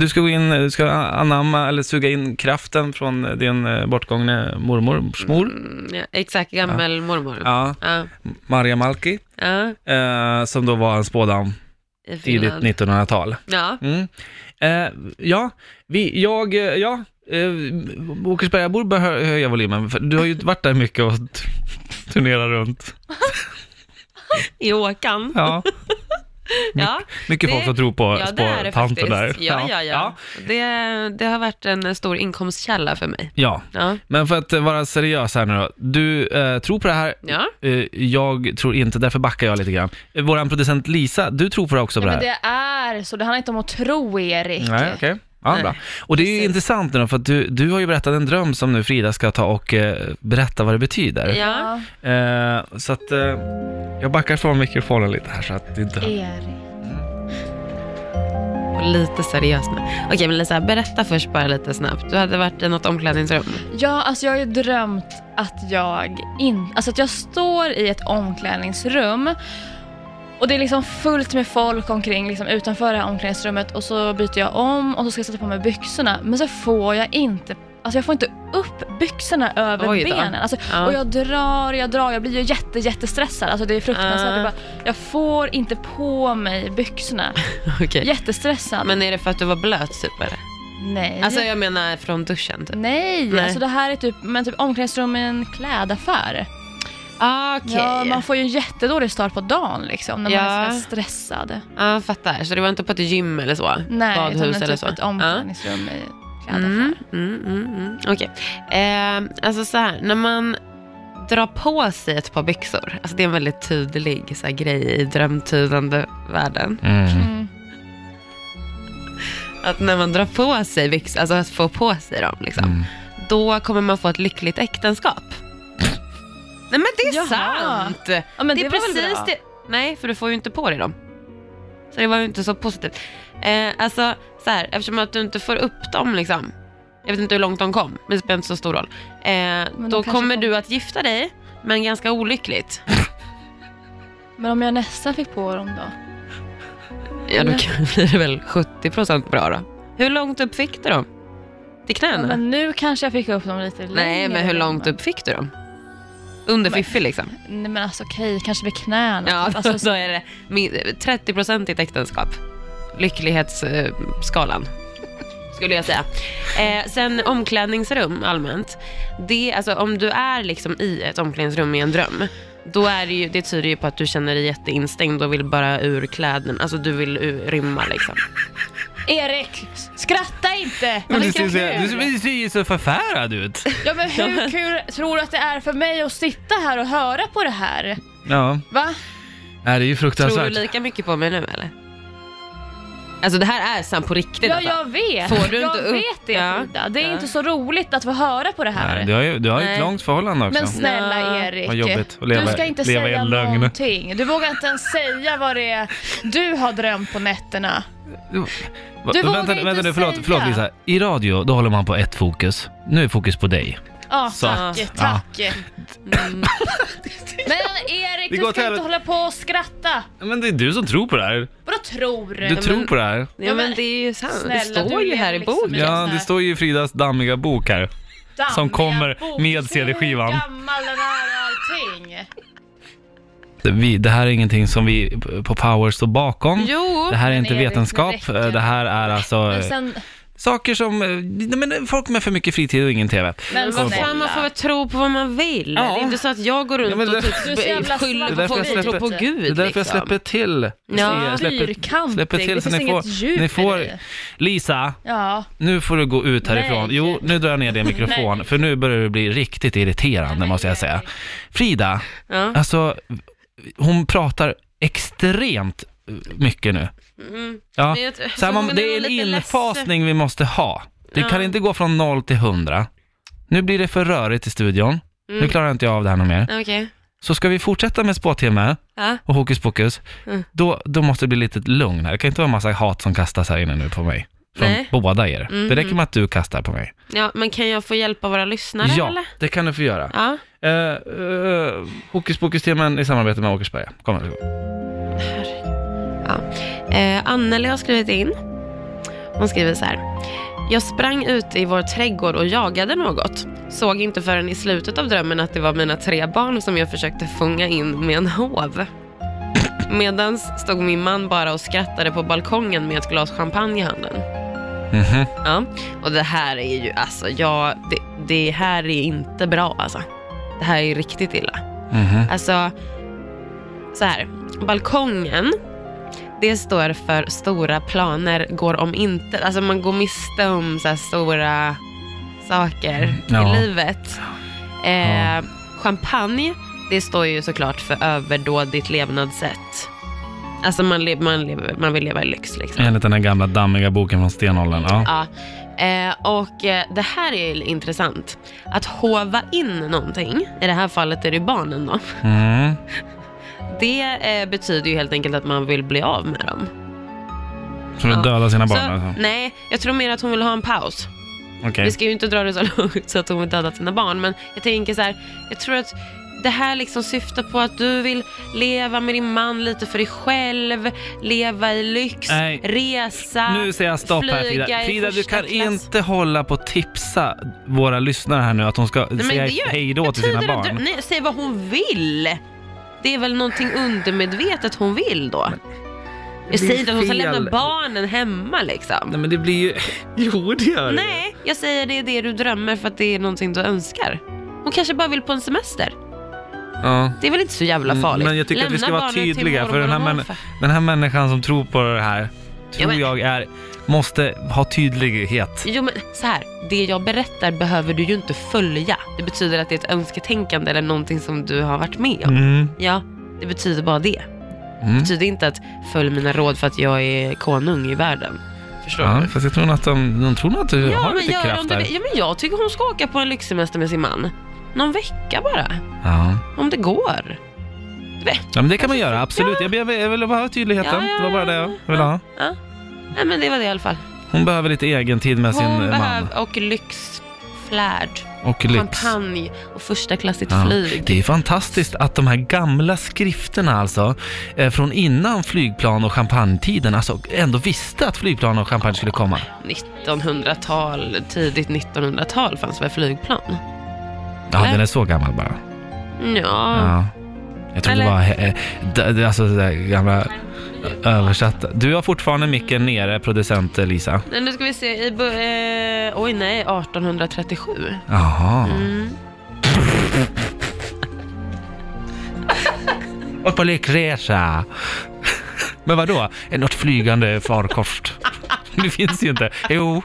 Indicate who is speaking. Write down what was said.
Speaker 1: Du ska gå in, du ska anamma eller suga in kraften från din eh, bortgångne mormors mor,
Speaker 2: Mm, ja, exakt, gammal mormor. Ja.
Speaker 1: ja,
Speaker 2: Ja,
Speaker 1: Maria Malki, eh, som då var en spådam
Speaker 2: i
Speaker 1: tidigt
Speaker 2: Finland.
Speaker 1: 1900-tal.
Speaker 2: Ja,
Speaker 1: Mm. Eh, ja, vi, jag, eh, ja, eh, Åkersberga, jag borde behöva höja volymen, för du har ju varit där mycket och t- turnerat runt.
Speaker 2: i Åkan. Ja,
Speaker 1: Ja, mycket folk
Speaker 2: Det-
Speaker 1: som tror på
Speaker 2: ja det är det
Speaker 1: spåtanten
Speaker 2: faktiskt.
Speaker 1: där.
Speaker 2: Ja, ja, ja.
Speaker 1: ja.
Speaker 2: Det, det har varit en stor inkomstkälla för mig.
Speaker 1: Ja,
Speaker 2: Ja,
Speaker 1: men för att vara seriös här nu då. Du eh, tror på det här,
Speaker 2: ja.
Speaker 1: Eh, jag tror inte, därför backar jag lite grann. Eh, Vår producent Lisa, du tror på det också på
Speaker 3: Nej,
Speaker 1: det
Speaker 3: men
Speaker 1: här?
Speaker 3: det är så, det handlar inte om att tro Erik.
Speaker 1: Nej, okej. Ja,
Speaker 2: Nej,
Speaker 1: bra. Och det är ju
Speaker 2: precis.
Speaker 1: intressant nu då, för att du, du har ju berättat en dröm som nu Frida ska ta och eh, berätta vad det betyder.
Speaker 2: ja.
Speaker 1: Eh, så att eh, jag backar från mikrofonen lite här så att du inte hör.
Speaker 3: Erik.
Speaker 2: Och lite seriös nu. Okej, men Lisa, berätta först bara lite snabbt. Du hade varit i något omklädningsrum.
Speaker 3: Ja, alltså jag har ju drömt att jag, in, alltså att jag står i ett omklädningsrum och det är liksom fullt med folk omkring liksom utanför det här omklädningsrummet och så byter jag om och så ska jag sätta på mig byxorna men så får jag inte Alltså jag får inte upp byxorna över
Speaker 2: Oj då.
Speaker 3: benen. Alltså,
Speaker 2: Ja.
Speaker 3: Och jag drar, jag drar, jag blir ju jätte, jättestressad. Alltså det är fruktansvärt.
Speaker 2: Ah.
Speaker 3: Jag, bara, jag får inte på mig byxorna.
Speaker 2: Okej.
Speaker 3: Jättestressad.
Speaker 2: Men är det för att du var blöt typ eller?
Speaker 3: Nej.
Speaker 2: Alltså jag menar från duschen typ.
Speaker 3: Nej,
Speaker 2: Nej.
Speaker 3: alltså det här är typ, men typ omklädningsrum i en klädaffär.
Speaker 2: Ah, Okej.
Speaker 3: Ja,
Speaker 2: Ja,
Speaker 3: man får ju en jättedålig start på dagen liksom, när man
Speaker 2: Ja.
Speaker 3: är sådär stressad.
Speaker 2: fattar. Så det var inte på ett gym eller så?
Speaker 3: Nej, utan
Speaker 2: Badhus
Speaker 3: det är
Speaker 2: eller
Speaker 3: typ
Speaker 2: så?
Speaker 3: ett
Speaker 2: Ja.
Speaker 3: omklädningsrum i klädaffär.
Speaker 2: Mm, mm, mm, mm. Okej. Ehm, alltså så här, när man drar på sig ett par byxor, alltså det är en väldigt tydlig så här, grej i drömtydande världen.
Speaker 1: Mm.
Speaker 3: Mm.
Speaker 2: Att när man drar på sig byxor, alltså att få på sig dem, liksom,
Speaker 1: Mm.
Speaker 2: då kommer man få ett lyckligt äktenskap. Nej men det är
Speaker 3: Jaha.
Speaker 2: sant!
Speaker 3: Ja, men
Speaker 2: det
Speaker 3: det,
Speaker 2: är
Speaker 3: var väl
Speaker 2: precis
Speaker 3: bra.
Speaker 2: det. Nej, för du får ju inte på dig dem. Så det var ju inte så positivt. Eh, alltså, så här, eftersom att du inte får upp dem liksom. Jag vet inte hur långt de kom, men det spelar inte så stor roll. Eh,
Speaker 3: de
Speaker 2: då
Speaker 3: kanske
Speaker 2: kommer
Speaker 3: kom.
Speaker 2: du att gifta dig, men ganska olyckligt.
Speaker 3: Men om jag nästan fick på dem då?
Speaker 2: Ja, då
Speaker 3: Ja.
Speaker 2: kan- blir det väl 70% bra då. Hur långt upp fick du dem? Till
Speaker 3: Ja,
Speaker 2: knäna?
Speaker 3: men nu kanske jag fick upp dem lite längre.
Speaker 2: Nej, men hur långt upp fick du dem? Under
Speaker 3: Men-
Speaker 2: fiffi liksom.
Speaker 3: Nej men alltså okej, kanske vid knäna.
Speaker 2: Ja,
Speaker 3: Typ. alltså,
Speaker 2: då är det min- 30-procentigt äktenskap. Lycklighetsskalan, skulle jag säga. Eh, sen omklädningsrum allmänt. Det, alltså, om du är liksom i ett omklädningsrum i en dröm, då är det, ju, det tyder ju på att du känner dig jätteinstängd och vill bara ur kläderna. Alltså du vill ur, rymma liksom.
Speaker 3: Erik, skratta inte!
Speaker 1: Men
Speaker 3: Vad
Speaker 1: du,
Speaker 3: tycker
Speaker 1: ser,
Speaker 3: du?
Speaker 1: du, du ser ju så förfärad ut.
Speaker 3: Ja men hur kul tror du att det är för mig att sitta här och höra på det här?
Speaker 1: Ja,
Speaker 3: Va?
Speaker 1: Nej, det är ju
Speaker 2: Tror du
Speaker 1: fruktansvärt.
Speaker 2: lika mycket på mig nu eller? Alltså det här är sant på riktigt
Speaker 3: Ja,
Speaker 2: alltså.
Speaker 3: jag vet.
Speaker 2: Får du
Speaker 3: jag
Speaker 2: inte upp-
Speaker 3: vet det
Speaker 2: Ja.
Speaker 3: Frida. Det är
Speaker 2: Ja.
Speaker 3: inte så roligt att få höra på det här.
Speaker 1: Nej, du har ju, du har ju ett
Speaker 2: Nej.
Speaker 1: långt förhållande också.
Speaker 3: Men snälla
Speaker 2: Nej.
Speaker 3: Erik.
Speaker 1: Vad jobbigt att leva-
Speaker 3: du ska inte
Speaker 1: leva i
Speaker 3: säga
Speaker 1: en lögn.
Speaker 3: någonting. Du vågar inte ens säga vad det är du har drömt på nätterna.
Speaker 1: Va-
Speaker 3: Du vågar
Speaker 1: vänta,
Speaker 3: inte
Speaker 1: vänta nu, förlåt,
Speaker 3: säga.
Speaker 1: förlåt Lisa. I radio, då håller man på ett fokus. Nu är fokus på dig.
Speaker 3: Ja,
Speaker 1: Så.
Speaker 3: tack.
Speaker 1: Ja.
Speaker 3: tack.
Speaker 2: Mm.
Speaker 3: Men Erik,
Speaker 1: Det
Speaker 3: du
Speaker 1: går
Speaker 3: ska
Speaker 1: åt helvete.
Speaker 3: inte hålla på och skratta.
Speaker 1: Men det är du som tror på det här.
Speaker 3: Vadå tror?
Speaker 1: Du tror på det här.
Speaker 2: Ja, men
Speaker 3: men
Speaker 2: det är ju sant. det
Speaker 3: snälla,
Speaker 2: står
Speaker 3: du
Speaker 2: ju här i
Speaker 3: lever liksom
Speaker 2: boken.
Speaker 3: i en
Speaker 1: Ja,
Speaker 3: sån här
Speaker 1: det står ju i Fridas dammiga bok här.
Speaker 3: dammiga
Speaker 1: som kommer
Speaker 3: bok.
Speaker 1: med
Speaker 3: Du ser
Speaker 1: CD-skivan.
Speaker 3: hur gammal den är och allting.
Speaker 1: Vi, det här är ingenting som vi på Power står bakom.
Speaker 2: Jo.
Speaker 1: Det här är
Speaker 3: Men
Speaker 1: inte
Speaker 3: Erik,
Speaker 1: vetenskap,
Speaker 3: det räcker.
Speaker 1: det här är alltså eh,
Speaker 3: Men sen,
Speaker 1: saker som, eh, nej, men folk med för mycket fritid och ingen TV.
Speaker 3: men
Speaker 2: Men vad
Speaker 3: snälla.
Speaker 2: fan, man får väl tro på vad man vill.
Speaker 1: Ja.
Speaker 2: Det är inte så att jag går runt
Speaker 1: Ja, men det-
Speaker 2: och
Speaker 3: Du är så
Speaker 2: typ
Speaker 3: jävla
Speaker 2: skyller
Speaker 1: Det är
Speaker 2: på
Speaker 1: därför
Speaker 2: folk
Speaker 1: jag
Speaker 2: som tror
Speaker 1: släpper-
Speaker 2: på Gud.
Speaker 1: Det är därför jag
Speaker 2: liksom.
Speaker 1: släpper till.
Speaker 2: Ja.
Speaker 1: släpper,
Speaker 3: Fyrkantig.
Speaker 1: släpper till
Speaker 3: Det
Speaker 1: så
Speaker 3: finns
Speaker 1: ni får,
Speaker 3: inget djup
Speaker 1: ni
Speaker 3: i
Speaker 1: får,
Speaker 3: det.
Speaker 1: Lisa,
Speaker 3: Ja.
Speaker 1: nu får du gå ut härifrån.
Speaker 3: Nej.
Speaker 1: Jo, nu drar jag ner din mikrofon,
Speaker 3: Nej.
Speaker 1: för nu börjar du bli riktigt irriterande
Speaker 3: Nej,
Speaker 1: måste jag
Speaker 3: nej.
Speaker 1: säga. Frida,
Speaker 2: Ja.
Speaker 1: alltså, hon pratar extremt eh, mycket nu.
Speaker 2: Mm.
Speaker 1: Ja.
Speaker 2: Men jag tror-
Speaker 1: Så här, man,
Speaker 2: men
Speaker 1: det är
Speaker 2: var
Speaker 1: en
Speaker 2: lite ledsen.
Speaker 1: infasning vi måste ha. Det
Speaker 2: Ja.
Speaker 1: kan inte gå från 0 till 100. Nu blir det för rörigt i studion. Nu
Speaker 2: Mm.
Speaker 1: klarar inte jag av det här något mer.
Speaker 2: Okej.
Speaker 1: Så ska vi fortsätta med spåtimme
Speaker 2: Ja.
Speaker 1: och hokus pokus,
Speaker 2: Mm.
Speaker 1: då, då måste det bli lite lugn här. Det kan inte vara en massa hat som kastas här inne nu på mig. Från
Speaker 2: Nej.
Speaker 1: båda er.
Speaker 2: Mhm.
Speaker 1: Det räcker med att du kastar på mig.
Speaker 2: ja, men kan jag få hjälpa våra lyssnare
Speaker 1: ja,
Speaker 2: eller?
Speaker 1: det kan du få göra.
Speaker 2: Ja.
Speaker 1: Eh, eh, hokus pokus-timmen i samarbete med Åkersberga. Kom här.
Speaker 2: Eh, Anneli har skrivit in. Hon skriver så här. Jag sprang ut i vår trädgård och jagade något. Såg inte förrän i slutet av drömmen att det var mina tre barn som jag försökte fånga in med en hov. Medans stod min man bara och skrattade på balkongen med ett glas champagne i handen.
Speaker 1: Mhm.
Speaker 2: Ja, och det här är ju alltså, ja, det, det här är inte bra alltså. Det här är riktigt illa.
Speaker 1: Mhm.
Speaker 2: Alltså, så här. Balkongen, det står för stora planer går om inte. Alltså man går miste om så här stora saker
Speaker 1: Mm, Ja.
Speaker 2: i livet. Eh,
Speaker 1: Ja.
Speaker 2: Champagne, det står ju såklart för överdådigt levnadssätt. Alltså man, le- man, lever, man vill leva i lyx liksom.
Speaker 1: Enligt den här gamla dammiga boken från stenåldern. Ja.
Speaker 2: Ja. Eh, och eh, det här är ju intressant. Att hova in någonting, i det här fallet är det barnen då.
Speaker 1: Mm.
Speaker 2: Det eh, betyder ju helt enkelt att man vill bli av med dem.
Speaker 1: För att
Speaker 2: Ja.
Speaker 1: döda sina barn
Speaker 2: så,
Speaker 1: alltså.
Speaker 2: Nej, jag tror mer att hon vill ha en paus.
Speaker 1: Okej.
Speaker 2: Vi ska ju inte dra det så långt så att hon vill döda sina barn, men jag tänker så här, jag tror att det här liksom syftar på att du vill leva med din man lite för dig själv, leva i lyx,
Speaker 1: Nej.
Speaker 2: resa.
Speaker 1: Nu säger jag stopp här Frida.
Speaker 2: flyga i
Speaker 1: Frida du
Speaker 2: första
Speaker 1: kan
Speaker 2: klass.
Speaker 1: inte hålla på och tipsa våra lyssnare här nu att de ska
Speaker 2: Nej, men
Speaker 1: säga
Speaker 2: det gör-
Speaker 1: hej då till sina
Speaker 2: betyder att-
Speaker 1: barn.
Speaker 2: Nej, säg vad hon vill. Det är väl någonting undermedvetet hon vill då.
Speaker 1: blir
Speaker 2: Jag säger inte att hon ska
Speaker 1: fel.
Speaker 2: lämna barnen hemma liksom.
Speaker 1: Nej men det blir ju... Jo det gör det.
Speaker 2: Nej, jag säger det är det du drömmer för att det är någonting du önskar. Hon kanske bara vill på en semester.
Speaker 1: Ja.
Speaker 2: Det är väl inte så jävla
Speaker 1: Mm,
Speaker 2: farligt?
Speaker 1: Men jag tycker att vi ska
Speaker 2: Lämna
Speaker 1: vara
Speaker 2: barnen till
Speaker 1: tydliga för den här,
Speaker 2: mormor och
Speaker 1: män,
Speaker 2: morfar.
Speaker 1: den här människan som tror på det här tror
Speaker 2: men-
Speaker 1: jag är, måste ha tydlighet.
Speaker 2: Jo men så här, det jag berättar behöver du ju inte följa. Det betyder att det är ett önsketänkande eller någonting som du har varit med om.
Speaker 1: Mm.
Speaker 2: Ja, det betyder bara det. Det
Speaker 1: Mm.
Speaker 2: betyder inte att följ mina råd för att jag är konung i världen. Förstår
Speaker 1: Ja,
Speaker 2: du?
Speaker 1: fast jag tror nog att de, de tror nog att du har lite
Speaker 2: gör de
Speaker 1: kraft
Speaker 2: det?
Speaker 1: där.
Speaker 2: ja, men jag tycker hon ska åka på en lyxsemester med sin man. Någon vecka bara,
Speaker 1: Ja.
Speaker 2: om det går. Du vet.
Speaker 1: ja, men det kan man göra, absolut. Jag, jag, jag ville bara ha tydligheten.
Speaker 2: Ja, ja,
Speaker 1: det var bara det
Speaker 2: ja,
Speaker 1: jag
Speaker 2: ja.
Speaker 1: ville ha.
Speaker 2: Nej men det var det i alla fall.
Speaker 1: Hon behöver lite egen tid med sin
Speaker 2: Hon
Speaker 1: man.
Speaker 2: behöver, och lyx, flärd,
Speaker 1: Och lyx.
Speaker 2: champagne och förstaklassigt
Speaker 1: Ja.
Speaker 2: flyg.
Speaker 1: Det är fantastiskt att de här gamla skrifterna alltså, eh, från innan flygplan och champagnetiden, alltså ändå visste att flygplan och champagne skulle komma.
Speaker 2: 1900-tal, tidigt 1900-tal fanns väl flygplan?
Speaker 1: Ja,
Speaker 2: Nej.
Speaker 1: den är så gammal bara.
Speaker 2: Ja.
Speaker 1: Ja. Jag tror det
Speaker 2: Eller-
Speaker 1: var eh, eh, d- d- alltså det där gamla översatta. Du har fortfarande micken nere, producent eh, Lisa.
Speaker 2: Nej, Nu ska vi se, i, bo- eh, oj nej, 1837.
Speaker 1: Jaha.
Speaker 2: Mm.
Speaker 1: Och på lyckresa. Men vadå? Något flygande farkost? Det finns ju inte. Jo,